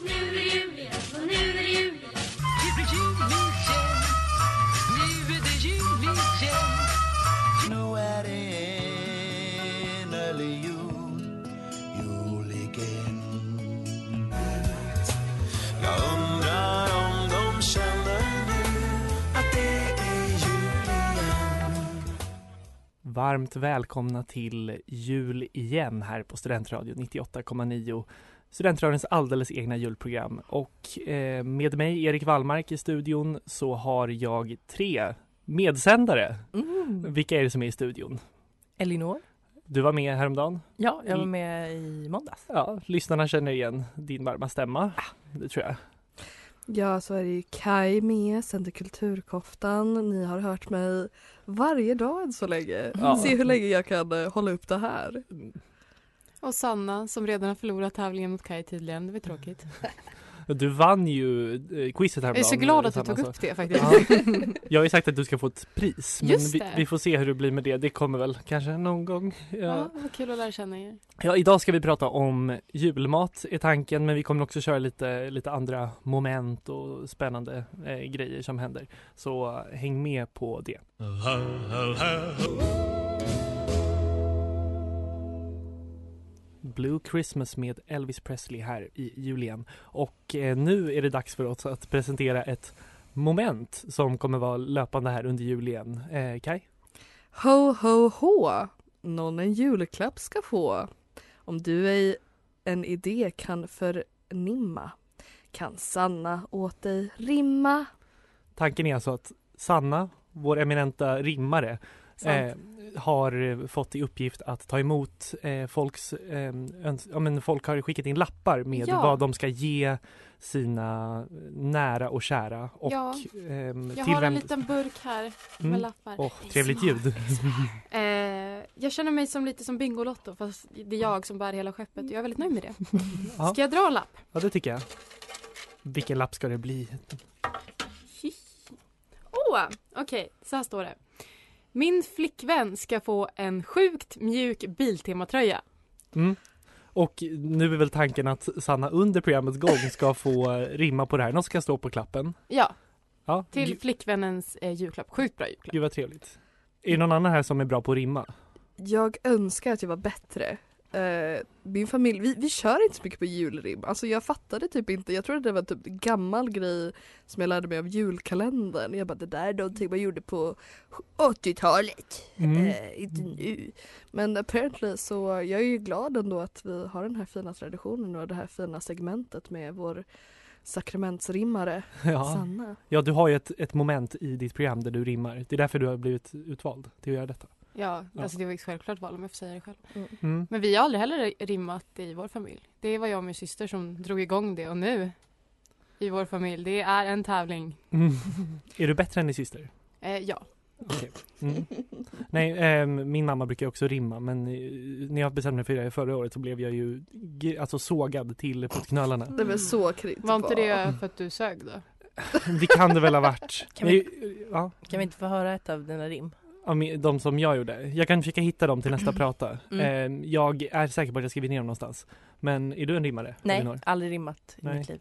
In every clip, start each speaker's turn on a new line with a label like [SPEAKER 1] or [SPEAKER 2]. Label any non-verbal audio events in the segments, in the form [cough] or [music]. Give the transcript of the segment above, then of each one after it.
[SPEAKER 1] Nu är det jul igen och nu är det jul igen.
[SPEAKER 2] Nu är det enlig jul, jul igen Jag undrar om de känner nu att det är jul igen
[SPEAKER 3] Varmt välkomna till jul igen här på Studentradion 98,9 Studentradions alldeles egna julprogram och eh, med mig Erik Wallmark i studion så har jag tre medsändare.
[SPEAKER 4] Mm.
[SPEAKER 3] Vilka är det som är i studion?
[SPEAKER 4] Elinor?
[SPEAKER 3] Du var med häromdagen.
[SPEAKER 4] Ja, jag var
[SPEAKER 3] Mm.
[SPEAKER 4] med i måndags.
[SPEAKER 3] Ja, lyssnarna känner igen din varma stämma. Det tror jag.
[SPEAKER 5] Ja, så är det ju Kai med, sänder Kulturkoftan. Ni har hört mig varje dag än så länge.
[SPEAKER 3] Ja.
[SPEAKER 5] Se hur länge jag kan eh, hålla upp det här.
[SPEAKER 3] Mm.
[SPEAKER 6] Och Sanna som redan har förlorat tävlingen mot Kaj tydligen. Det var tråkigt.
[SPEAKER 3] Du vann ju eh, quizet
[SPEAKER 6] Jag
[SPEAKER 3] häromdagen.
[SPEAKER 6] är så glad att du
[SPEAKER 3] Sanna,
[SPEAKER 6] tog
[SPEAKER 3] så-
[SPEAKER 6] upp det faktiskt.
[SPEAKER 3] [laughs] Ja. Jag har ju sagt att du ska få ett pris, men
[SPEAKER 6] Just
[SPEAKER 3] vi,
[SPEAKER 6] det.
[SPEAKER 3] vi får se hur det blir med det. Det kommer väl kanske någon gång. Ja.
[SPEAKER 6] Ja, vad kul att lära känna er.
[SPEAKER 3] Ja, idag ska vi prata om julmat är tanken, men vi kommer också köra lite, lite andra moment och spännande eh, grejer som händer. Så eh, häng med på det. Blue Christmas med Elvis Presley här i julen. Och eh, nu är det dags för oss att presentera ett moment som kommer vara löpande här under jul igen. Eh, Kai?
[SPEAKER 5] Ho, ho, ho! Någon en julklapp ska få. Om du ej en idé kan förnimma kan Sanna åt dig rimma.
[SPEAKER 3] Tanken är alltså att Sanna, vår eminenta rimmare, eh, har eh, fått i uppgift att ta emot eh, folks, eh, öns- ja, men folk har skickat in lappar med
[SPEAKER 6] Ja.
[SPEAKER 3] vad de ska ge sina nära och kära och
[SPEAKER 6] Ja.
[SPEAKER 3] ehm,
[SPEAKER 6] Jag
[SPEAKER 3] till
[SPEAKER 6] har
[SPEAKER 3] vem...
[SPEAKER 6] en liten burk här med
[SPEAKER 3] Mm.
[SPEAKER 6] lappar.
[SPEAKER 3] Åh, trevligt ljud.
[SPEAKER 6] Eh, jag känner mig som lite som Bingolotto fast det är jag som bär hela skeppet. Jag är väldigt nöjd med det.
[SPEAKER 3] Ja.
[SPEAKER 6] Ska jag dra en lapp?
[SPEAKER 3] Ja, det tycker jag. Vilken lapp ska det bli?
[SPEAKER 6] Åh, okej. Så här står det. Min flickvän ska få en sjukt mjuk Biltematröja.
[SPEAKER 3] Mm. Och nu är väl tanken att Sanna under programmets gång ska få eh, rimma på det här. Någon ska stå på klappen.
[SPEAKER 6] Ja,
[SPEAKER 3] Ja,
[SPEAKER 6] till
[SPEAKER 3] gud-
[SPEAKER 6] flickvännens eh, julklapp. Sjukt bra julklapp.
[SPEAKER 3] gud vad trevligt. Är det någon annan här som är bra på att rimma?
[SPEAKER 5] Jag önskar att jag var bättre. Eh, min familj, vi, vi kör inte så mycket på julrim. Alltså jag fattade typ inte, jag trodde det var typ en gammal grej som jag lärde mig av julkalendern. Jag bara det där är någonting man gjorde på 80-talet.
[SPEAKER 3] Mm.
[SPEAKER 5] Eh, inte nu. Men apparently så jag är ju glad ändå att vi har den här fina traditionen och det här fina segmentet med vår sakramentsrimmare
[SPEAKER 3] [laughs] Ja.
[SPEAKER 5] Sanna.
[SPEAKER 3] ja, du har ju ett, ett moment i ditt program där du rimmar. Det är därför du har blivit utvald till att göra detta.
[SPEAKER 6] Ja,
[SPEAKER 3] Ja.
[SPEAKER 6] alltså det var ett självklart val om jag får säga det själv.
[SPEAKER 3] Mm.
[SPEAKER 6] Men vi har aldrig heller rimmat i vår familj. Det var jag och min syster som drog igång det och nu i vår familj, det är en tävling.
[SPEAKER 3] Mm. [laughs] Är du bättre än din syster?
[SPEAKER 6] Eh, ja.
[SPEAKER 3] Okej.
[SPEAKER 4] [laughs]
[SPEAKER 3] Mm. Nej, ehm, min mamma brukar ju också rimma men eh, när jag bestämde mig för det här förra året så blev jag ju ge- alltså sågad till fotknölarna.
[SPEAKER 5] Det var
[SPEAKER 3] Mm.
[SPEAKER 5] så typ. kritiskt.
[SPEAKER 6] Var inte det för att du sög då?
[SPEAKER 3] Det kan det väl ha varit.
[SPEAKER 4] [laughs] Kan vi-
[SPEAKER 3] Men, ja,
[SPEAKER 4] Kan vi inte få höra ett av dina rim?
[SPEAKER 3] Ja, men de som jag gjorde. Jag kan försöka hitta dem till nästa prata.
[SPEAKER 4] Mm.
[SPEAKER 3] Ehm, jag är säker på att jag skrivit ner dem någonstans. Men är du en rimmare?
[SPEAKER 4] Nej,
[SPEAKER 3] Elinor?
[SPEAKER 4] aldrig rimmat i
[SPEAKER 3] Nej.
[SPEAKER 4] mitt liv.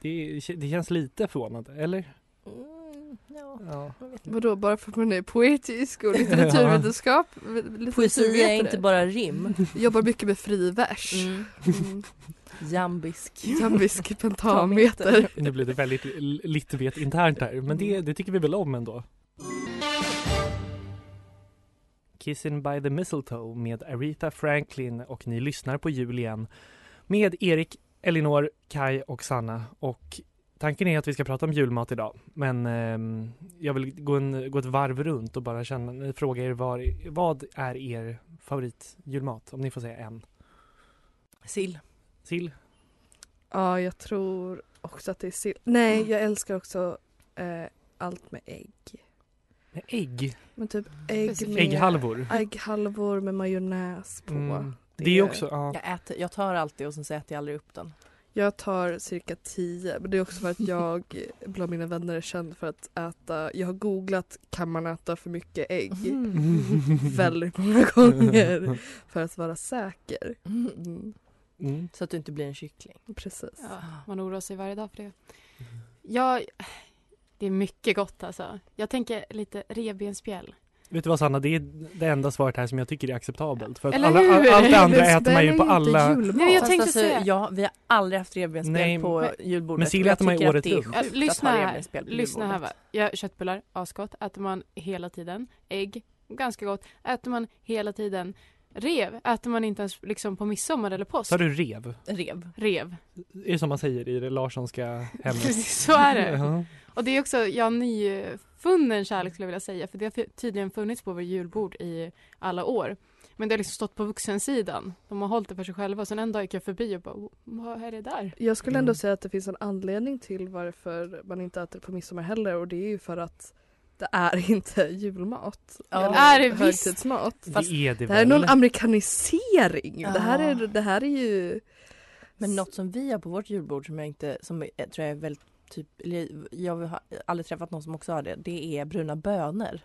[SPEAKER 3] Det, det känns lite förvånande, eller?
[SPEAKER 4] Mm, ja.
[SPEAKER 3] Ja.
[SPEAKER 5] Vadå bara för att man är poetisk och litteraturvetenskap?
[SPEAKER 4] Poesi är
[SPEAKER 5] litteraturvetare.
[SPEAKER 4] inte bara
[SPEAKER 6] [laughs]
[SPEAKER 4] rim.
[SPEAKER 5] Jobbar mycket med fri vers.
[SPEAKER 4] Mm.
[SPEAKER 5] Mm.
[SPEAKER 4] Jambisk. [laughs]
[SPEAKER 5] Jambisk pentameter.
[SPEAKER 3] Nu blir det väldigt l- littvet internt här, men det, det tycker vi väl om ändå. Kissing by the mistletoe med Aretha Franklin och ni lyssnar på jul igen med Erik, Elinor, Kai och Sanna och tanken är att vi ska prata om julmat idag men ehm, jag vill gå, en, gå ett varv runt och bara känna, fråga er var, vad är er favoritjulmat? Om ni får säga en.
[SPEAKER 4] Sill.
[SPEAKER 3] Sill?
[SPEAKER 5] Ja, jag tror också att det är sill. Nej, jag älskar också eh, allt med ägg.
[SPEAKER 3] Ägg?
[SPEAKER 5] Men typ ägg
[SPEAKER 6] Specifikt.
[SPEAKER 5] med
[SPEAKER 3] Ägghalvor?
[SPEAKER 5] ägghalvor med majonnäs på.
[SPEAKER 3] Mm. Det är också, ja.
[SPEAKER 4] Jag, äter, jag tar alltid och sen så äter jag aldrig upp den.
[SPEAKER 5] Jag tar cirka 10 men det är också för att jag bland mina vänner är känd för att äta, jag har googlat kan man äta för mycket ägg väldigt många gånger för att vara säker. Mm,
[SPEAKER 3] [laughs] Mm.
[SPEAKER 4] Så att du inte blir en kyckling.
[SPEAKER 5] precis.
[SPEAKER 6] Ja, man oroar sig varje dag
[SPEAKER 4] Mm.
[SPEAKER 6] för det. Jag, det är mycket gott alltså. Jag tänker lite revbensspjäll.
[SPEAKER 3] Vet du vad Sanna, det är det enda svaret här som jag tycker är acceptabelt. För att
[SPEAKER 6] Eller
[SPEAKER 3] alla,
[SPEAKER 6] hur?
[SPEAKER 3] all, allt det andra
[SPEAKER 5] Men
[SPEAKER 3] äter man ju på
[SPEAKER 5] spänn är inte
[SPEAKER 3] alla...
[SPEAKER 5] julmat.
[SPEAKER 6] Nej, jag
[SPEAKER 4] Fast
[SPEAKER 6] tänkte
[SPEAKER 4] alltså,
[SPEAKER 6] säga-
[SPEAKER 4] Ja, vi har aldrig haft
[SPEAKER 3] Nej,
[SPEAKER 4] revbensspjäl på
[SPEAKER 6] men-
[SPEAKER 4] julbordet.
[SPEAKER 3] men sill
[SPEAKER 4] och jag
[SPEAKER 3] äter man ju
[SPEAKER 4] tycker att
[SPEAKER 3] året
[SPEAKER 4] det är
[SPEAKER 3] runt.
[SPEAKER 4] sjukt
[SPEAKER 6] Äh,
[SPEAKER 4] att ha
[SPEAKER 6] lyssna här.
[SPEAKER 4] revbensspjäl på
[SPEAKER 6] Lyssna här
[SPEAKER 4] julbordet.
[SPEAKER 6] va. Ja, köttbullar, asgott. Äter man hela tiden. Ägg, ganska gott. Äter man hela tiden. Rev äter man inte ens liksom på midsommar eller påsk.
[SPEAKER 3] Sa du rev?
[SPEAKER 4] Rev.
[SPEAKER 6] Rev.
[SPEAKER 3] Det är som man säger i det Larssonska hemmet.
[SPEAKER 6] [laughs] Så är det.
[SPEAKER 3] Ja.
[SPEAKER 6] Och det är också, ja, nyfunnen kärlek skulle jag vilja säga för det har tydligen funnits på vår julbord i alla år. Men det har liksom stått på vuxensidan. De har hållit det för sig själva. Sen en dag gick jag förbi och bara, "Oh, vad är det där?
[SPEAKER 5] Jag skulle ändå
[SPEAKER 3] Mm.
[SPEAKER 5] säga att det finns en anledning till varför man inte äter på midsommar heller och det är ju för att det är [laughs] inte julmat.
[SPEAKER 4] Ja.
[SPEAKER 5] Eller
[SPEAKER 6] Är det visst?
[SPEAKER 5] högtidsmat. Fast
[SPEAKER 3] det är det,
[SPEAKER 5] det här är
[SPEAKER 3] väl?
[SPEAKER 5] någon amerikanisering. Det, här är,
[SPEAKER 4] Ja.
[SPEAKER 5] det här är ju...
[SPEAKER 4] Men något som vi har på vårt julbord som jag inte, som jag tror jag är väldigt typ, eller jag har aldrig träffat någon som också har det, det är bruna bönor.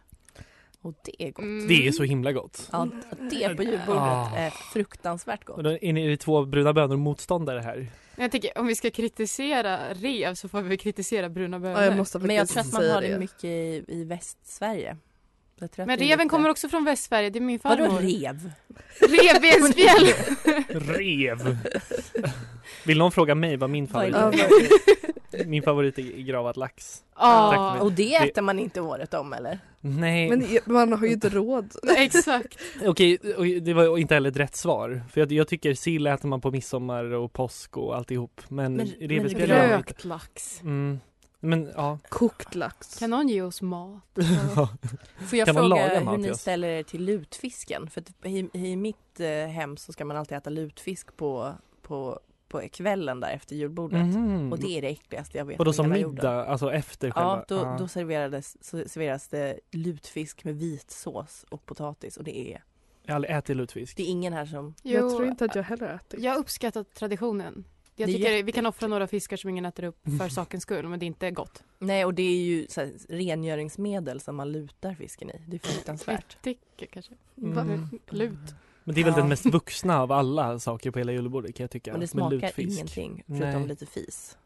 [SPEAKER 4] Och det är gott.
[SPEAKER 6] Mm.
[SPEAKER 3] det är så himla gott.
[SPEAKER 4] Ja, det på julbordet
[SPEAKER 3] Ah.
[SPEAKER 4] är fruktansvärt
[SPEAKER 3] Och
[SPEAKER 4] gott.
[SPEAKER 3] då är ni två bruna bönor motståndare här.
[SPEAKER 6] Jag tänker, om vi ska kritisera rev så får vi kritisera bruna bönor.
[SPEAKER 5] Ja, jag måste
[SPEAKER 4] Men jag tror att
[SPEAKER 5] faktiskt
[SPEAKER 4] man
[SPEAKER 5] säga
[SPEAKER 4] har det
[SPEAKER 5] det.
[SPEAKER 4] mycket i, i Västsverige. Jag tror att
[SPEAKER 6] Men
[SPEAKER 4] det är
[SPEAKER 6] reven
[SPEAKER 4] lite-
[SPEAKER 6] kommer också från Västsverige, det är min farmor.
[SPEAKER 4] Vadå rev?
[SPEAKER 6] Revbensspjäll!
[SPEAKER 3] Rev! Vill någon fråga mig vad min
[SPEAKER 4] Vad är
[SPEAKER 3] favorit
[SPEAKER 5] Ja,
[SPEAKER 3] är?
[SPEAKER 5] men-
[SPEAKER 3] Min favorit är gravad lax. Tack för
[SPEAKER 6] Ja,
[SPEAKER 3] mig.
[SPEAKER 4] Och det äter man inte året om eller?
[SPEAKER 3] Nej,
[SPEAKER 5] Men man har ju inte råd.
[SPEAKER 6] exakt.
[SPEAKER 3] okej, och det var inte heller ett rätt svar. För jag, jag tycker sill äter man på midsommar och påsk och alltihop. Men,
[SPEAKER 4] Men-
[SPEAKER 3] revbensspjäll
[SPEAKER 4] men
[SPEAKER 3] gör man
[SPEAKER 4] rök.
[SPEAKER 3] inte.
[SPEAKER 6] Rökt lax.
[SPEAKER 3] Mm. Men
[SPEAKER 4] [laughs]
[SPEAKER 3] ja.
[SPEAKER 5] Kokt lax.
[SPEAKER 6] Kan någon ge oss mat?
[SPEAKER 4] Får jag
[SPEAKER 3] Kan man laga
[SPEAKER 4] fråga hur
[SPEAKER 3] mat till
[SPEAKER 4] ni
[SPEAKER 3] oss?
[SPEAKER 4] ställer er till lutfisken? För att i, i mitt eh, hem så ska man alltid äta lutfisk på, på, på kvällen där efter julbordet.
[SPEAKER 3] Mhm.
[SPEAKER 4] Och det är det äckligaste jag vet.
[SPEAKER 3] Och då
[SPEAKER 4] på
[SPEAKER 3] som
[SPEAKER 4] hela
[SPEAKER 3] middag,
[SPEAKER 4] jorden.
[SPEAKER 3] alltså efter själva?
[SPEAKER 4] Ja, då,
[SPEAKER 3] Ah.
[SPEAKER 4] då serverades, så serveras det lutfisk med vitsås och potatis och det är,
[SPEAKER 3] Jag har aldrig ätit lutfisk.
[SPEAKER 4] det är ingen här som...
[SPEAKER 5] Jag tror inte att jag heller
[SPEAKER 7] typ.
[SPEAKER 5] äter.
[SPEAKER 6] Jag uppskattar traditionen. Jag
[SPEAKER 4] Det är
[SPEAKER 6] tycker vi
[SPEAKER 4] jätteäckligt.
[SPEAKER 6] kan offra några fiskar som ingen äter upp för sakens skull, men det är inte gott.
[SPEAKER 4] Nej och det är ju så här, rengöringsmedel som man lutar fisken i. Det är fruktansvärt.
[SPEAKER 6] Tycker kanske.
[SPEAKER 3] Mm.
[SPEAKER 6] Lut.
[SPEAKER 3] Men det är väl
[SPEAKER 4] Ja.
[SPEAKER 3] den mest vuxna av alla saker på hela julbordet kan jag tycka.
[SPEAKER 4] Men det
[SPEAKER 3] Med
[SPEAKER 4] smakar
[SPEAKER 3] lutfisk.
[SPEAKER 4] ingenting förutom
[SPEAKER 3] Nej. [laughs]
[SPEAKER 4] lite fis.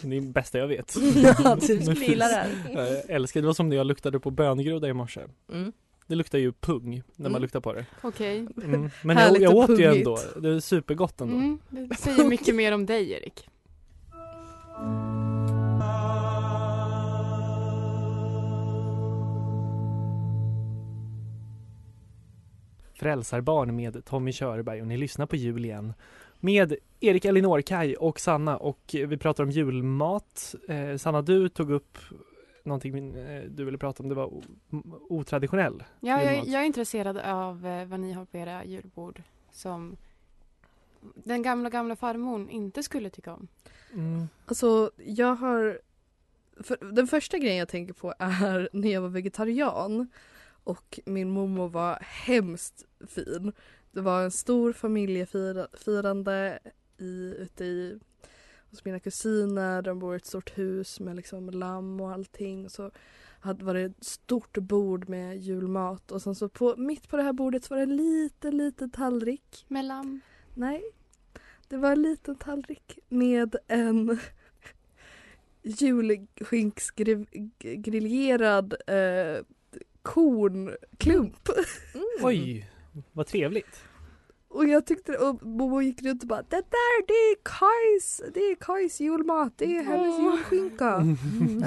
[SPEAKER 3] Det är det bästa jag
[SPEAKER 4] [laughs]
[SPEAKER 3] vet.
[SPEAKER 4] ja, typ,
[SPEAKER 3] Med
[SPEAKER 4] du skulle
[SPEAKER 3] fis.
[SPEAKER 4] gilla det här.
[SPEAKER 3] Jag älskar, det var som när jag luktade på böngroda i morse.
[SPEAKER 4] Mm.
[SPEAKER 3] Det luktar ju pung när man
[SPEAKER 4] Mm.
[SPEAKER 3] luktar på det.
[SPEAKER 6] Okej.
[SPEAKER 4] [laughs]
[SPEAKER 3] Mm. Men jag,
[SPEAKER 5] Härligt
[SPEAKER 3] jag
[SPEAKER 5] och
[SPEAKER 3] åt ju
[SPEAKER 5] pungigt.
[SPEAKER 3] ändå, det är supergott ändå.
[SPEAKER 6] Mm, det säger mycket mer om dig, Erik.
[SPEAKER 3] Frälsarbarn med Tommy Körberg och ni lyssnar på jul igen med Erik, Elinor, Kai och Sanna och vi pratar om julmat. Eh, Sanna, du tog upp någonting eh, du ville prata om, det var o- m- otraditionell.
[SPEAKER 6] Ja, jag,
[SPEAKER 3] Julmat.
[SPEAKER 6] jag är intresserad av eh, vad ni har på era julbord som den gamla, gamla farmor inte skulle tycka om.
[SPEAKER 3] Mm.
[SPEAKER 5] Alltså jag har... För, den första grejen jag tänker på är [laughs] när jag var vegetarian och min mormor var hemskt fin. Det var en stor familjefirande i, ute i, hos mina kusiner. De bor i ett stort hus med liksom lamm och allting. Och så hade, var det ett stort bord med julmat och sen så på, mitt på det här bordet så var det en liten, liten tallrik
[SPEAKER 6] Med lamm.
[SPEAKER 5] Nej. Det var en liten tallrik med en [laughs] julskinksgriljerad eh, kornklump.
[SPEAKER 3] Oj, vad trevligt.
[SPEAKER 5] Och jag tyckte, och Momo gick runt och bara det där det är Kajs, det är Kajs julmat, det är hennes
[SPEAKER 6] Åh. [laughs]
[SPEAKER 5] julskinka.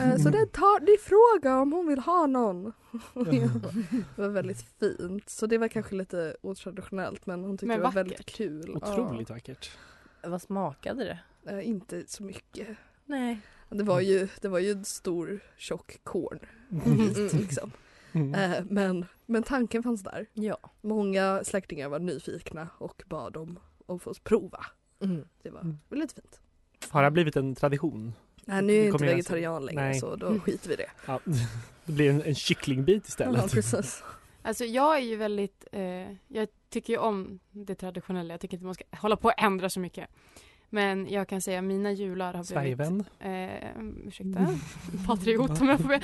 [SPEAKER 5] Eh, så det tar, ni frågar om hon vill ha någon. [laughs] det var väldigt fint. Så det var kanske lite otraditionellt men hon tyckte
[SPEAKER 6] Men
[SPEAKER 5] det var väldigt
[SPEAKER 6] vackert.
[SPEAKER 5] kul.
[SPEAKER 3] Otroligt vackert.
[SPEAKER 4] Vad smakade det?
[SPEAKER 5] Ja, eh, inte så mycket.
[SPEAKER 4] Nej.
[SPEAKER 5] Det var
[SPEAKER 3] Mm.
[SPEAKER 5] ju, det var ju en stor tjock korn.
[SPEAKER 3] Mm.
[SPEAKER 5] Liksom. Eh, men, men tanken fanns där.
[SPEAKER 4] Ja.
[SPEAKER 5] Många släktingar var nyfikna och bad om att få prova.
[SPEAKER 4] Mm.
[SPEAKER 5] Det var
[SPEAKER 3] Mm.
[SPEAKER 5] väl lite fint.
[SPEAKER 3] Har det här blivit en tradition?
[SPEAKER 5] Nej, nu är jag
[SPEAKER 3] Det
[SPEAKER 5] inte
[SPEAKER 3] kommer jag
[SPEAKER 5] vegetarian längre
[SPEAKER 3] Nej. Mm. [laughs]
[SPEAKER 5] så då skiter vi i det.
[SPEAKER 3] Ja, det blir en, en kycklingbit
[SPEAKER 5] Ja,
[SPEAKER 3] istället.
[SPEAKER 5] precis.
[SPEAKER 6] Alltså jag är ju väldigt, eh, jag tycker ju om det traditionella. Jag tycker inte man ska hålla på och ändra så mycket. Men jag kan säga mina jular har blivit...
[SPEAKER 3] Sverigevänd.
[SPEAKER 6] Eh, ursäkta, patriot om jag får be.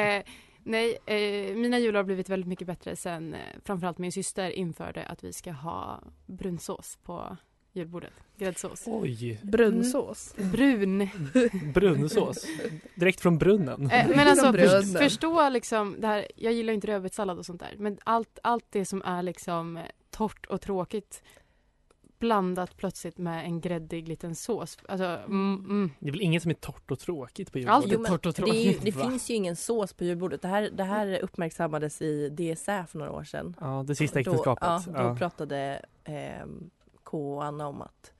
[SPEAKER 6] eh, Nej, eh, mina jular har blivit väldigt mycket bättre sen eh, framförallt min syster införde att vi ska ha brunsås på julbordet. Gräddsås.
[SPEAKER 3] Oj,
[SPEAKER 5] Brunsås.
[SPEAKER 6] Brun.
[SPEAKER 3] brunsås. Direkt från brunnen.
[SPEAKER 6] Eh, men alltså
[SPEAKER 5] Bröden.
[SPEAKER 6] först, förstå liksom det här, jag gillar ju inte rödbetssallad och sånt där men allt, allt det som är liksom eh, torrt och tråkigt blandat plötsligt med en gräddig liten sås. Alltså, mm, mm.
[SPEAKER 3] Det är väl inget som är torrt och tråkigt på
[SPEAKER 6] Allt
[SPEAKER 3] julbordet?
[SPEAKER 6] är
[SPEAKER 4] men
[SPEAKER 6] torrt och
[SPEAKER 4] Det, är ju,
[SPEAKER 6] tråkigt.
[SPEAKER 4] det
[SPEAKER 3] Va?
[SPEAKER 4] finns ju ingen sås på julbordet. Det här, det här uppmärksammades i DSä för några år sedan.
[SPEAKER 3] Ja, det sista äktenskapet.
[SPEAKER 4] Då, ja, då
[SPEAKER 3] Ja.
[SPEAKER 4] pratade eh, K och Anna om att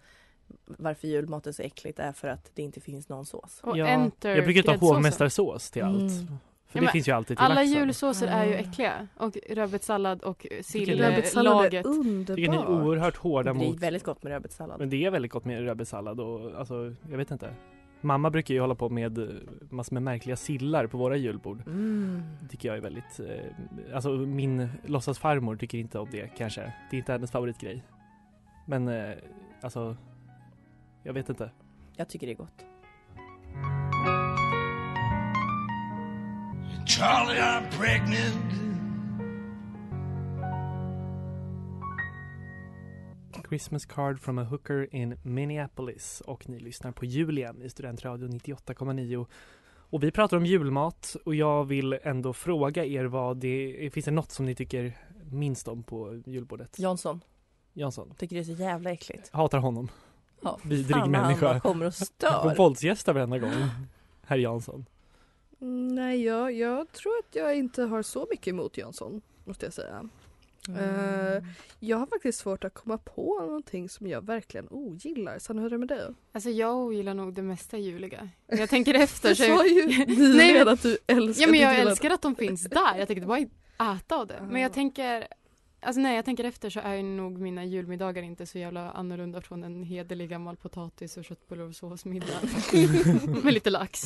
[SPEAKER 4] varför julmat är så äckligt är för att det inte finns någon sås.
[SPEAKER 6] Och
[SPEAKER 3] Ja,
[SPEAKER 6] enter
[SPEAKER 3] Jag brukar ta
[SPEAKER 6] gräddsåsen.
[SPEAKER 3] hovmästarsås till allt.
[SPEAKER 4] Mm.
[SPEAKER 3] För
[SPEAKER 6] Ja,
[SPEAKER 3] det
[SPEAKER 6] men
[SPEAKER 3] finns ju alltid till
[SPEAKER 6] Alla
[SPEAKER 3] laxen.
[SPEAKER 6] julsåser är ju äckliga och rödbetssallad och
[SPEAKER 5] Rödbetssallad
[SPEAKER 6] silllaget.
[SPEAKER 5] är
[SPEAKER 3] eh, Tycker ni är
[SPEAKER 5] underbart.
[SPEAKER 3] oerhört hårda
[SPEAKER 4] Det är
[SPEAKER 3] mot...
[SPEAKER 4] väldigt gott med rödbetssallad.
[SPEAKER 3] Men det är väldigt gott med rödbetssallad och alltså, jag vet inte. Mamma brukar ju hålla på med eh, massor med märkliga sillar på våra julbord.
[SPEAKER 4] Mm.
[SPEAKER 3] Det tycker jag är väldigt, eh, alltså min låtsasfarmor tycker inte om det kanske. Det är inte hennes favoritgrej. Men eh, alltså, jag vet inte.
[SPEAKER 4] Jag tycker det är gott.
[SPEAKER 2] Charlie, I'm pregnant.
[SPEAKER 3] Christmas card from a hooker in Minneapolis och ni lyssnar på jul igen i Studentradion 98,9. Och vi pratar om julmat och jag vill ändå fråga er vad det finns det något som ni tycker minst om på julbordet?
[SPEAKER 4] Jansson,
[SPEAKER 3] Jansson.
[SPEAKER 4] tycker det är så jävla äckligt.
[SPEAKER 3] Hatar honom.
[SPEAKER 4] Ja,
[SPEAKER 3] Vidrig
[SPEAKER 4] fan vad han
[SPEAKER 3] människa.
[SPEAKER 4] bara kommer och
[SPEAKER 3] Hon
[SPEAKER 4] stör.
[SPEAKER 3] våldsgästar varenda gång. Herr Jansson.
[SPEAKER 5] Mm, Nej, jag, jag tror att jag inte har så mycket emot Jansson, måste jag säga.
[SPEAKER 3] Mm.
[SPEAKER 5] Eh, jag har faktiskt svårt att komma på någonting som jag verkligen ogillar. Sanna, hur är det med dig?
[SPEAKER 6] Alltså jag gillar nog det mesta juliga. Men Jag tänker efter
[SPEAKER 5] Du
[SPEAKER 6] så
[SPEAKER 5] sa ju [laughs]
[SPEAKER 6] Nej, men-
[SPEAKER 5] nyligen att du älskar
[SPEAKER 6] Ja men jag
[SPEAKER 5] ditt lilla-
[SPEAKER 6] älskar att de finns där. Jag tänkte bara äta av det. Men jag tänker, alltså när jag tänker efter så är ju nog mina julmiddagar inte så jävla annorlunda från en hederlig gammal potatis och köttbullar och såsmiddag. Med lite lax.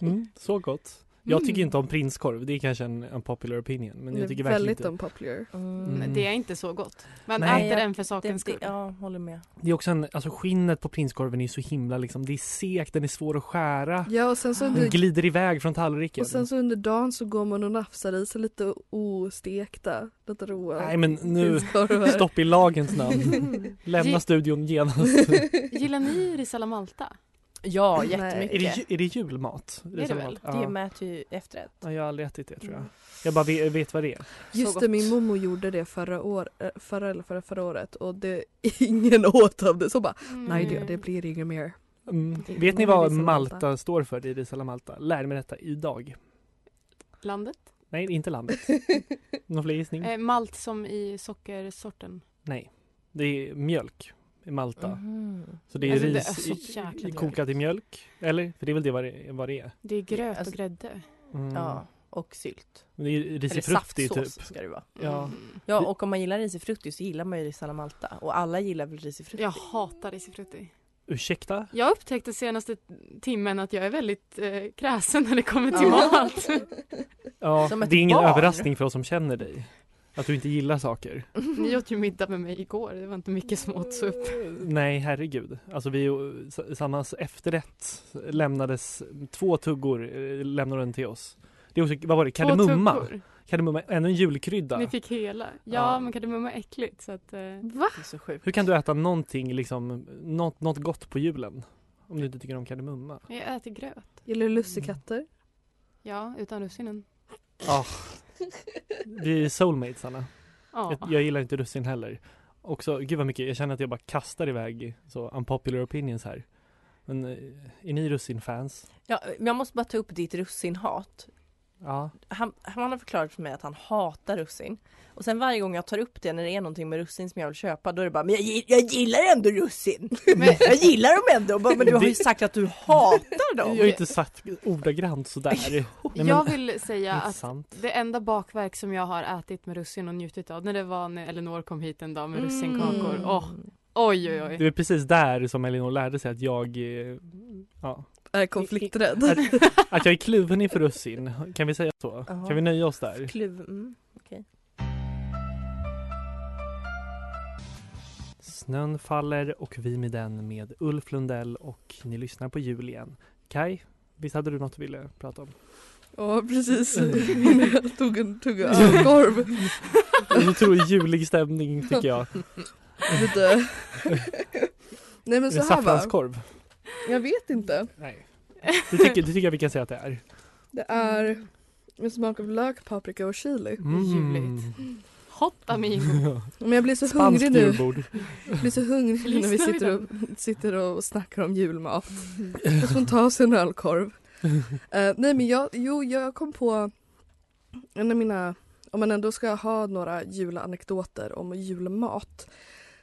[SPEAKER 3] Mm, så gott. Jag tycker
[SPEAKER 6] Mm.
[SPEAKER 3] inte om prinskorv, det är kanske en, en popular opinion. Men jag
[SPEAKER 5] Det är
[SPEAKER 3] tycker verkligen
[SPEAKER 5] väldigt
[SPEAKER 3] inte.
[SPEAKER 5] unpopular.
[SPEAKER 4] Mm.
[SPEAKER 3] Mm.
[SPEAKER 6] Det är inte så gott. Man
[SPEAKER 3] Nej.
[SPEAKER 6] äter den för
[SPEAKER 4] Det,
[SPEAKER 6] sakens
[SPEAKER 4] det,
[SPEAKER 6] skull.
[SPEAKER 4] ja, håller med.
[SPEAKER 3] Det är också en, alltså skinnet på prinskorven är ju så himla liksom, det är sekt, den är svår att skära.
[SPEAKER 5] Ja, och sen så
[SPEAKER 3] Den
[SPEAKER 5] under,
[SPEAKER 3] glider iväg från tallriken.
[SPEAKER 5] Mm. och sen så under dagen så går man och nafsar i sig lite ostekta, lite råa
[SPEAKER 3] Nej men nu,
[SPEAKER 5] prinskorvar.
[SPEAKER 3] stopp i lagens namn.
[SPEAKER 5] [laughs]
[SPEAKER 3] Lämna studion genast.
[SPEAKER 6] Gillar ni ris alla Malta?
[SPEAKER 4] Ja,
[SPEAKER 5] Nej.
[SPEAKER 3] är,
[SPEAKER 4] jättemycket.
[SPEAKER 3] det, ju- är det julmat?
[SPEAKER 6] Det är det
[SPEAKER 3] som-
[SPEAKER 6] väl.
[SPEAKER 3] Ja.
[SPEAKER 4] Mm. Det mäter ju efterrätt.
[SPEAKER 3] Ja, jag har aldrig ätit det tror jag.
[SPEAKER 5] Mm.
[SPEAKER 3] Jag bara vet, vet vad det är.
[SPEAKER 5] Just
[SPEAKER 4] Så
[SPEAKER 5] det,
[SPEAKER 4] gott.
[SPEAKER 5] min mormor gjorde det förra, år, eh, förra, eller förra, förra året och det, [laughs] ingen åt av det. Så bara, nej det, det blir inget [laughs] mer.
[SPEAKER 3] Mm.
[SPEAKER 5] Det-
[SPEAKER 3] Vet ni
[SPEAKER 5] vad är
[SPEAKER 3] vad
[SPEAKER 5] ris alla
[SPEAKER 3] Malta,
[SPEAKER 5] Malta?
[SPEAKER 3] står för? Det är ris alla Malta. Lär mig detta idag.
[SPEAKER 6] Landet?
[SPEAKER 3] Nej, inte landet. Någon fler gissning?
[SPEAKER 6] Eh, malt som i sockersorten.
[SPEAKER 3] Nej. Det är mjölk i Malta.
[SPEAKER 5] Mm.
[SPEAKER 4] Mhm.
[SPEAKER 3] Så det är
[SPEAKER 6] Alltså, det
[SPEAKER 3] ris
[SPEAKER 6] är så
[SPEAKER 3] i-
[SPEAKER 6] jäkla
[SPEAKER 3] i, kokat i mjölk. Eller? För det är väl det vad det, vad det är?
[SPEAKER 6] Det är gröt
[SPEAKER 4] Alltså-
[SPEAKER 6] och grädde.
[SPEAKER 3] Mm.
[SPEAKER 4] Ja, och sylt.
[SPEAKER 3] Men Det är
[SPEAKER 4] Eller
[SPEAKER 3] risifrutti typ.
[SPEAKER 4] saftsås ska det vara.
[SPEAKER 3] Ja.
[SPEAKER 6] Mm.
[SPEAKER 4] Ja, och om man gillar risifrutti så gillar man ju risala Malta. Och alla gillar väl risifrutti?
[SPEAKER 6] Jag hatar risifrutti.
[SPEAKER 3] Ursäkta?
[SPEAKER 6] Jag upptäckte senaste timmen att jag är väldigt eh, kräsen när det kommer till
[SPEAKER 4] Ja.
[SPEAKER 6] mat. [laughs]
[SPEAKER 3] Ja,
[SPEAKER 4] Som ett
[SPEAKER 3] det är ingen
[SPEAKER 4] barn.
[SPEAKER 3] överraskning för oss som känner dig. Att du inte gillar saker.
[SPEAKER 6] Ni åt ju middag med mig igår, det var inte mycket som åts upp.
[SPEAKER 3] Nej, herregud. Alltså vi eh, samma efterrätt lämnades två tuggor eh, lämnade den till oss. Det är också, vad var det?
[SPEAKER 6] Två
[SPEAKER 3] Kardemumma?
[SPEAKER 6] tuggor.
[SPEAKER 3] Kardemumma, ännu en julkrydda.
[SPEAKER 6] Ni fick hela. Ja,
[SPEAKER 3] Ja.
[SPEAKER 6] men kardemumma är äckligt så att... Eh,
[SPEAKER 4] Det är så sjukt.
[SPEAKER 3] Hur kan du äta någonting, liksom, något, något gott på julen? Om du inte tycker om kardemumma.
[SPEAKER 6] men jag äter gröt.
[SPEAKER 5] Gillar du lussekatter?
[SPEAKER 6] Ja, utan russinen.
[SPEAKER 3] Vi är soulmates, Anna.
[SPEAKER 6] Ja.
[SPEAKER 3] Jag, jag gillar inte russin heller. Också, gud vad mycket, jag känner att jag bara kastar iväg så unpopular opinions här. Men eh, är ni russinfans?
[SPEAKER 4] Ja, men jag måste bara ta upp ditt russinhat.
[SPEAKER 3] Ja.
[SPEAKER 4] Han, han har förklarat för mig att han hatar russin. Och sen varje gång jag tar upp det när det är någonting med russin som jag vill köpa då är det bara Men jag, gi- jag gillar ändå russin! Men, [laughs] jag gillar dem ändå! Bara, Men du har ju sagt att du hatar
[SPEAKER 3] Jag
[SPEAKER 4] dem!
[SPEAKER 3] har inte sagt ordagrant
[SPEAKER 4] [laughs]
[SPEAKER 3] sådär. Nej, men,
[SPEAKER 6] jag vill säga
[SPEAKER 3] inte
[SPEAKER 6] att
[SPEAKER 3] sant.
[SPEAKER 6] det enda bakverk som jag har ätit med russin och njutit av, när det var när Elinor kom hit en dag med russinkakor.
[SPEAKER 4] Mm.
[SPEAKER 6] Åh, oj, oj, oj.
[SPEAKER 3] Det är precis där som Elinor lärde sig att jag, eh, ja,
[SPEAKER 5] Är konflikträdd?
[SPEAKER 3] att, att jag är kluven inför russin. Kan vi säga så?
[SPEAKER 4] Ja.
[SPEAKER 3] Kan vi nöja oss där?
[SPEAKER 4] Kluv... Mm.
[SPEAKER 3] Snön faller och vi med den med Ulf Lundell och ni lyssnar på jul igen. Kai, visst hade du något du ville prata om?
[SPEAKER 5] [laughs] Ja precis, innan [laughs] jag tog en [laughs] tugga ölkorv.
[SPEAKER 3] Jag tror julig stämning tycker jag.
[SPEAKER 5] Lite. [laughs] Nej men
[SPEAKER 3] Är
[SPEAKER 5] så
[SPEAKER 3] det
[SPEAKER 5] här va,
[SPEAKER 3] saffranskorv?
[SPEAKER 5] jag vet inte.
[SPEAKER 3] Nej. Det tycker, det tycker jag vi kan säga att det är.
[SPEAKER 5] Det är med smak av lök, paprika och chili.
[SPEAKER 3] Mm.
[SPEAKER 6] Juligt. Hot [laughs] amigo.
[SPEAKER 5] Men jag blir så
[SPEAKER 3] Spanskt
[SPEAKER 5] hungrig nu.
[SPEAKER 3] julbord.
[SPEAKER 5] Jag blir så hungrig när vi
[SPEAKER 6] Lyssnar vi
[SPEAKER 5] sitter och, sitter och snackar om julmat. Jag får ta oss en ölkorv. Eh, nej men jag, jo, jag kom på en av mina, om man ändå ska ha några julanekdoter om julmat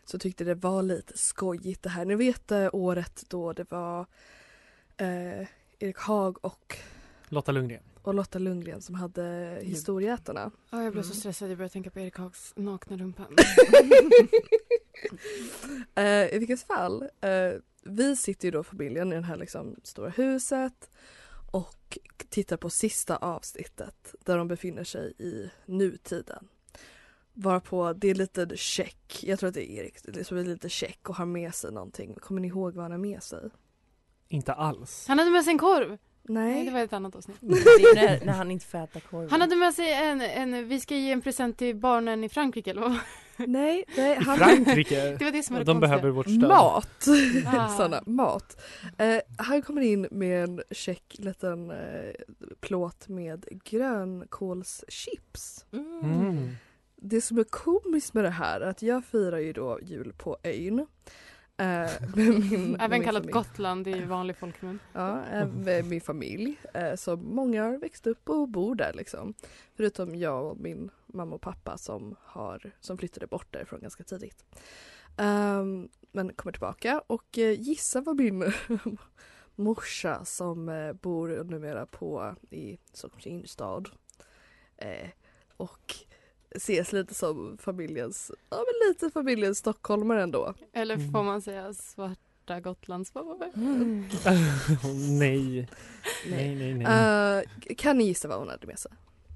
[SPEAKER 5] så tyckte det var lite skojigt det här. Ni vet eh, året då det var eh, Erik Haag och,
[SPEAKER 3] Lotta Lundgren.
[SPEAKER 5] och Lotta Lundgren som hade Historieätarna.
[SPEAKER 6] Ja, jag blev så stressad. Jag började tänka på Erik Hags nakna rumpa.
[SPEAKER 5] [laughs] Eh, I vilket fall, eh, vi sitter ju då familjen i det här liksom stora huset och tittar på sista avsnittet där de befinner sig i nutiden. Varpå det är lite check, jag tror att det är Erik som är lite check och har med sig någonting. Kommer ni ihåg vad han har med sig?
[SPEAKER 3] Inte alls.
[SPEAKER 6] Han hade med sig en korv. Nej, det
[SPEAKER 5] Nej.
[SPEAKER 6] var ett annat avsnitt.
[SPEAKER 4] Det är när, när han inte får äta korv.
[SPEAKER 6] Han hade med sig en, en, vi ska ge en present till barnen i Frankrike eller vad [laughs] var
[SPEAKER 5] Nej, nej han...
[SPEAKER 3] Frankrike.
[SPEAKER 6] det? var det som var det
[SPEAKER 3] De
[SPEAKER 6] konstiga.
[SPEAKER 3] behöver vårt stöd.
[SPEAKER 5] Mat! [laughs]
[SPEAKER 6] Ah.
[SPEAKER 5] Sanna, mat. Eh, han kommer in med en check liten eh, plåt med grönkålschips.
[SPEAKER 4] Mm.
[SPEAKER 5] [laughs]
[SPEAKER 3] Mm.
[SPEAKER 5] det som är komiskt med det här är att jag firar ju då jul på ön. eh, [laughs] med min, med
[SPEAKER 6] Även
[SPEAKER 5] min
[SPEAKER 6] kallat
[SPEAKER 5] familj.
[SPEAKER 6] Gotland i vanlig folkmun.
[SPEAKER 5] Ja, eh, med min familj. eh, Så många har växt upp och bor där liksom. Förutom jag och min mamma och pappa som, har, som flyttade bort därifrån ganska tidigt. Ehm, men kommer tillbaka och eh, gissa vad min [laughs] morsa som eh, bor numera på i Stockholms innerstad eh, och ses lite som familjens, ja men lite familjens stockholmare ändå.
[SPEAKER 6] Eller
[SPEAKER 3] Mm.
[SPEAKER 6] får man säga svarta Gotlandsbobbare?
[SPEAKER 3] nej. Nej, nej, nej.
[SPEAKER 5] Eh, kan ni gissa vad hon hade med sig?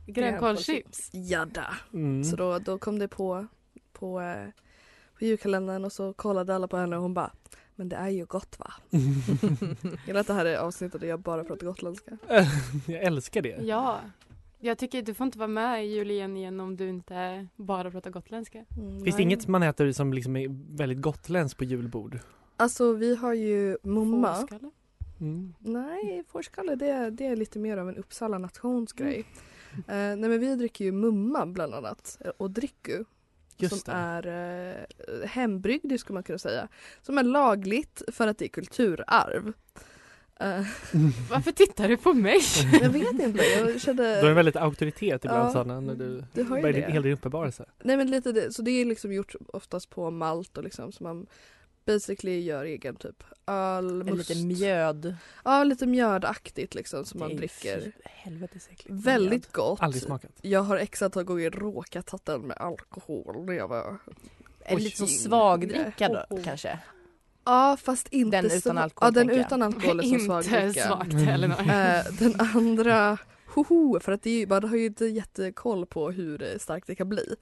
[SPEAKER 6] Grönkålschips.
[SPEAKER 5] Jadda!
[SPEAKER 3] Mm.
[SPEAKER 5] Så då, då kom det på, på, eh, på julkalendern och så kollade alla på henne och hon bara men det är ju gott va? Gillar att det här är avsnittet där jag bara pratar gotländska.
[SPEAKER 3] [laughs] jag älskar det.
[SPEAKER 6] Ja. Jag tycker du får inte vara med i jul igen, igen om du inte bara pratar gotländska.
[SPEAKER 5] Mm,
[SPEAKER 3] Finns det
[SPEAKER 5] nej.
[SPEAKER 3] inget man äter som liksom är väldigt gotländskt på julbord?
[SPEAKER 5] Alltså vi har ju momma.
[SPEAKER 6] Fårskalle.
[SPEAKER 3] Mm.
[SPEAKER 5] Nej, fårskalle det, är- det är lite mer av en Uppsala nationsgrej. Eh, nej men vi dricker ju mumma bland annat eh, och dricku.
[SPEAKER 3] Just
[SPEAKER 5] som
[SPEAKER 3] det.
[SPEAKER 5] är eh, hembryggd det skulle man kunna säga. Som är lagligt för att det är kulturarv. Eh, [laughs]
[SPEAKER 6] Varför tittar du på mig?
[SPEAKER 5] jag vet inte, jag kände...
[SPEAKER 3] [laughs] Du har en väldigt auktoritet ibland
[SPEAKER 5] eh, Ja,
[SPEAKER 3] Sanna när du
[SPEAKER 5] du har ju
[SPEAKER 3] börjar
[SPEAKER 5] det.
[SPEAKER 3] din hel din uppenbarelse.
[SPEAKER 5] Nej men lite det, så det är liksom gjort oftast på malt och liksom så man basically gör egen typ öl,
[SPEAKER 4] En
[SPEAKER 5] must.
[SPEAKER 4] lite mjöd.
[SPEAKER 5] Ja lite mjödaktigt liksom som man
[SPEAKER 4] Det är
[SPEAKER 5] dricker.
[SPEAKER 4] fy- Helvetes äckligt.
[SPEAKER 5] Väldigt gott.
[SPEAKER 3] Aldrig smakat.
[SPEAKER 5] Jag har x antal gånger råkat ta den med alkohol när jag var...
[SPEAKER 4] Är det lite som
[SPEAKER 5] Oj.
[SPEAKER 4] svagdricka då kanske?
[SPEAKER 5] Ja fast inte
[SPEAKER 4] Den
[SPEAKER 5] så-
[SPEAKER 4] utan alkohol,
[SPEAKER 5] Ja den
[SPEAKER 4] tänker jag.
[SPEAKER 5] utan alkohol
[SPEAKER 4] [laughs]
[SPEAKER 5] är som
[SPEAKER 6] inte
[SPEAKER 5] svagdricka.
[SPEAKER 6] svagt Elinor.
[SPEAKER 5] Eh, den andra, hoho, för att det är, ju- man har ju inte jättekoll på hur eh, starkt det kan bli.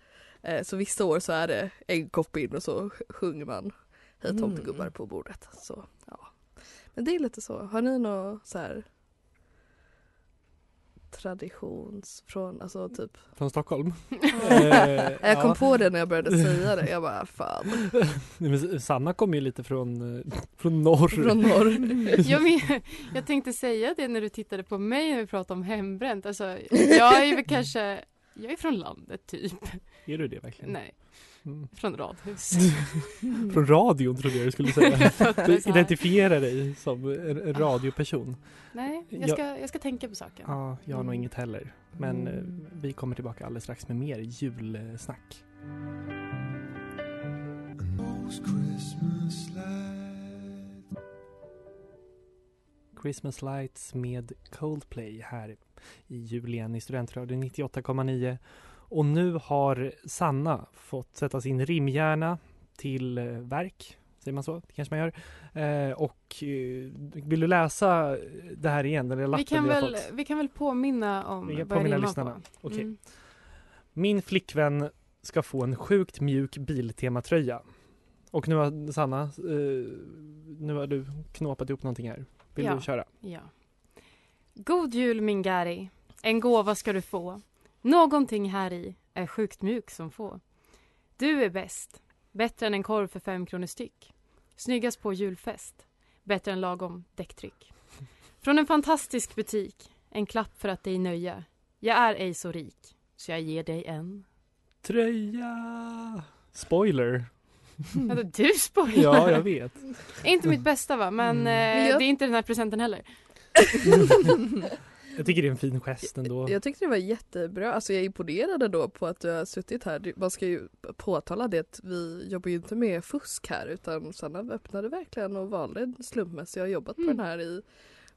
[SPEAKER 5] Eh, så vissa år så är det en kopp in och så sjunger man Hej
[SPEAKER 4] Mm.
[SPEAKER 5] tomtegubbar på bordet. Så, ja. Men det är lite så. Har ni någon så här traditions från, alltså typ.
[SPEAKER 3] Från Stockholm.
[SPEAKER 5] Eh, Jag kom på det när jag började säga det. Jag bara fan,
[SPEAKER 3] Nej, men Sanna kommer ju lite från, eh, från norr. [laughs]
[SPEAKER 5] från norr.
[SPEAKER 6] Jag, men, jag tänkte säga det när du tittade på mig när vi pratade om hembränt. Alltså, jag är väl kanske, jag är från landet typ.
[SPEAKER 3] Är du det verkligen?
[SPEAKER 6] Nej,
[SPEAKER 3] Mm.
[SPEAKER 6] från radhus.
[SPEAKER 3] Från radion trodde jag [laughs] du skulle
[SPEAKER 6] [laughs]
[SPEAKER 3] säga. [laughs] Du
[SPEAKER 6] Så här.
[SPEAKER 3] identifierar dig som en en radioperson.
[SPEAKER 6] Nej, jag
[SPEAKER 3] Jag-
[SPEAKER 6] ska, jag ska tänka på saken.
[SPEAKER 3] Ja, jag har nog inget heller. Men eh, vi kommer tillbaka alldeles strax med mer julsnack. Christmas Lights med Coldplay här i jul igen i Studentradion 98,9. Och nu har Sanna fått sätta sin rimhjärna till eh, verk, säger man så? Det kanske man gör. Eh, och eh, vill du läsa det här igen? Den lilla lappen
[SPEAKER 6] Vi kan,
[SPEAKER 3] vi har
[SPEAKER 6] väl,
[SPEAKER 3] fått?
[SPEAKER 6] vi kan väl påminna om
[SPEAKER 3] Vi kan
[SPEAKER 6] vad det
[SPEAKER 3] påminna
[SPEAKER 6] rimmar
[SPEAKER 3] lyssnarna.
[SPEAKER 6] på.
[SPEAKER 3] Okej.
[SPEAKER 6] Mm.
[SPEAKER 3] Min flickvän ska få en sjukt mjuk Biltema-tröja. Och nu har Sanna, eh, nu har du knåpat ihop någonting här. Vill
[SPEAKER 6] Ja.
[SPEAKER 3] du köra?
[SPEAKER 6] Ja. God jul min Gary. En gåva ska du få. Någonting här i är sjukt mjuk som få. Du är bäst. Bättre än en korv för fem kronor styck. Snyggast på julfest. Bättre än lagom däcktryck. Från en fantastisk butik. En klapp för att dig nöja. Jag är ej så rik. Så jag ger dig en.
[SPEAKER 3] Tröja! Spoiler!
[SPEAKER 6] Vadå, Alltså, du spoilar?
[SPEAKER 3] Mm. [laughs] Ja, jag vet. Mm.
[SPEAKER 6] Inte mitt bästa va, men eh,
[SPEAKER 5] jag-
[SPEAKER 6] det är inte den här presenten heller.
[SPEAKER 3] Jag tycker det är en fin gest ändå.
[SPEAKER 5] Jag tyckte det var jättebra, alltså jag är imponerad ändå på att du har suttit här. Du- Man ska ju påtala det att vi jobbar ju inte med fusk här utan Sanna öppnade verkligen och valde en slumpmässig. Jag har jobbat
[SPEAKER 6] Mm.
[SPEAKER 5] på den här i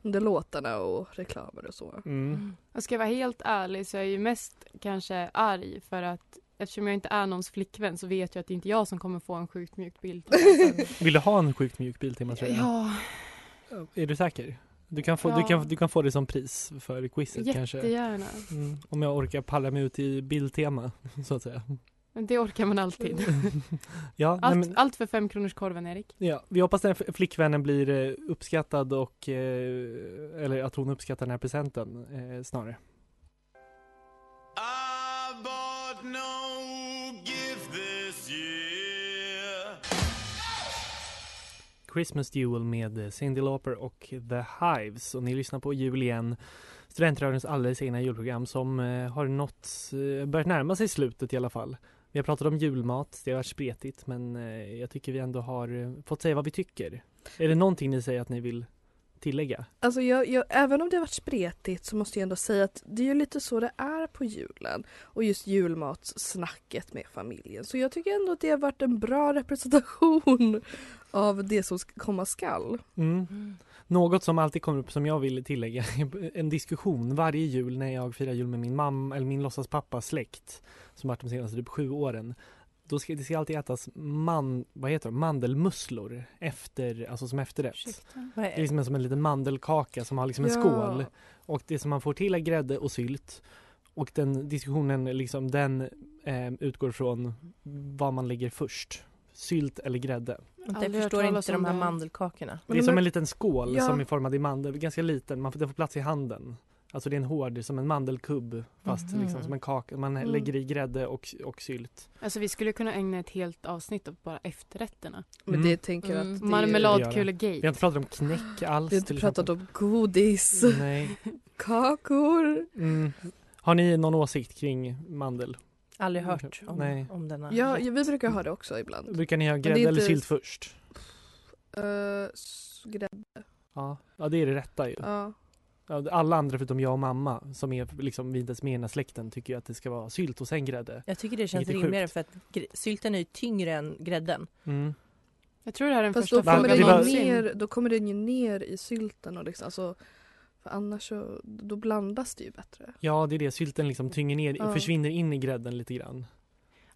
[SPEAKER 5] under låtarna och reklamer och så.
[SPEAKER 3] Mm.
[SPEAKER 6] Och ska jag vara helt ärlig så är jag ju mest kanske arg för att eftersom jag inte är någons flickvän så vet jag att det inte är jag som kommer få en sjukt mjuk bild.
[SPEAKER 3] [laughs]
[SPEAKER 6] Alltså,
[SPEAKER 3] Vill du ha en sjukt mjuk biltematröja?
[SPEAKER 6] ja,
[SPEAKER 3] Är du säker? Du kan, få, du,
[SPEAKER 6] Ja.
[SPEAKER 3] kan, du kan få det som pris för quizet kanske.
[SPEAKER 6] jättegärna.
[SPEAKER 3] Mm. Om jag orkar palla mig ut i Biltema, [laughs] så att säga.
[SPEAKER 6] Men det orkar man alltid.
[SPEAKER 3] Ja, nej,
[SPEAKER 6] Allt,
[SPEAKER 3] men,
[SPEAKER 6] allt för femkronorskorven Erik.
[SPEAKER 3] ja, vi hoppas den här f- flickvännen blir eh, uppskattad och, eh, eller att hon uppskattar den här presenten eh, snarare.
[SPEAKER 2] I bought no gift this year.
[SPEAKER 3] Christmas Duel med eh, Cyndi Lauper och The Hives. Och ni lyssnar på Jul igen, studentradions alldeles egna julprogram som eh, har nått, eh, börjat närma sig slutet i alla fall. Vi har pratat om julmat, det har varit spretigt men eh, jag tycker vi ändå har eh, fått säga vad vi tycker. Är det någonting ni säger att ni vill tillägga?
[SPEAKER 5] Alltså jag, jag, även om det har varit spretigt så måste jag ändå säga att det är ju lite så det är på julen. Och just julmatssnacket med familjen. Så jag tycker ändå att det har varit en bra representation [laughs] av det som sk- komma skall.
[SPEAKER 3] Mm. Något som alltid kommer upp som jag vill tillägga [laughs] är en diskussion varje jul när jag firar jul med min mamma eller min låtsaspappas släkt som varit de senaste typ sju åren. Då ska det ska alltid ätas man, vad heter de? mandelmusslor efter, alltså som efterrätt.
[SPEAKER 4] Vad
[SPEAKER 3] Det är liksom som en liten mandelkaka som har liksom en
[SPEAKER 5] Ja.
[SPEAKER 3] skål och det som man får till är grädde och sylt. Och den diskussionen liksom den eh, utgår från vad man lägger först. Sylt eller grädde.
[SPEAKER 4] Jag
[SPEAKER 6] Aldrig hört
[SPEAKER 4] förstår
[SPEAKER 6] talas
[SPEAKER 4] inte de
[SPEAKER 6] om
[SPEAKER 4] här
[SPEAKER 6] det.
[SPEAKER 4] mandelkakorna.
[SPEAKER 3] det är
[SPEAKER 5] Men
[SPEAKER 3] som
[SPEAKER 5] de-
[SPEAKER 3] en liten skål
[SPEAKER 5] Ja.
[SPEAKER 3] som är formad i mandel, ganska liten, man får, den får plats i handen. Alltså det är en hård, som en mandelkubb fast
[SPEAKER 4] Mhm.
[SPEAKER 3] liksom som en kaka, man
[SPEAKER 6] Mm.
[SPEAKER 3] lägger i grädde och, och sylt.
[SPEAKER 6] Alltså vi skulle kunna ägna ett helt avsnitt åt bara efterrätterna.
[SPEAKER 5] Men
[SPEAKER 3] Mm.
[SPEAKER 5] det tänker jag att
[SPEAKER 4] Mm.
[SPEAKER 5] det är-
[SPEAKER 3] Vi har
[SPEAKER 6] Marmeladkulegate.
[SPEAKER 3] inte pratat om knäck alls
[SPEAKER 5] Vi har inte
[SPEAKER 3] till
[SPEAKER 5] pratat
[SPEAKER 3] exempel.
[SPEAKER 5] om godis,
[SPEAKER 3] Nej.
[SPEAKER 5] kakor.
[SPEAKER 3] Mm. Har ni någon åsikt kring mandel?
[SPEAKER 4] Aldrig hört om,
[SPEAKER 3] Mm. Nej.
[SPEAKER 4] om denna.
[SPEAKER 5] Ja, ja, vi brukar ha det också ibland.
[SPEAKER 3] Brukar ni ha
[SPEAKER 5] det är
[SPEAKER 3] grädde eller
[SPEAKER 5] inte-
[SPEAKER 3] sylt först?
[SPEAKER 5] Eh, s- grädde.
[SPEAKER 3] Ja. ja, det är det rätta ju.
[SPEAKER 5] Ja.
[SPEAKER 3] Ja, Alla andra förutom jag och mamma som är liksom vi inte ens med i den här släkten tycker ju att det ska vara sylt och sen grädde.
[SPEAKER 4] Jag tycker det känns
[SPEAKER 3] Vilket är
[SPEAKER 4] rimligare för att gr- sylten är ju tyngre än grädden.
[SPEAKER 3] Mm.
[SPEAKER 6] Jag tror det här är den
[SPEAKER 5] Fast
[SPEAKER 6] första
[SPEAKER 5] då
[SPEAKER 3] frågan
[SPEAKER 5] kommer,
[SPEAKER 6] frågan
[SPEAKER 5] den ju
[SPEAKER 3] var-
[SPEAKER 6] någonsin.
[SPEAKER 5] ner, då kommer den ju ner i sylten och liksom, alltså, för annars så, då blandas det ju bättre.
[SPEAKER 3] Ja, det är det. Sylten liksom tynger ner,
[SPEAKER 5] Ja.
[SPEAKER 3] försvinner in i grädden lite grann.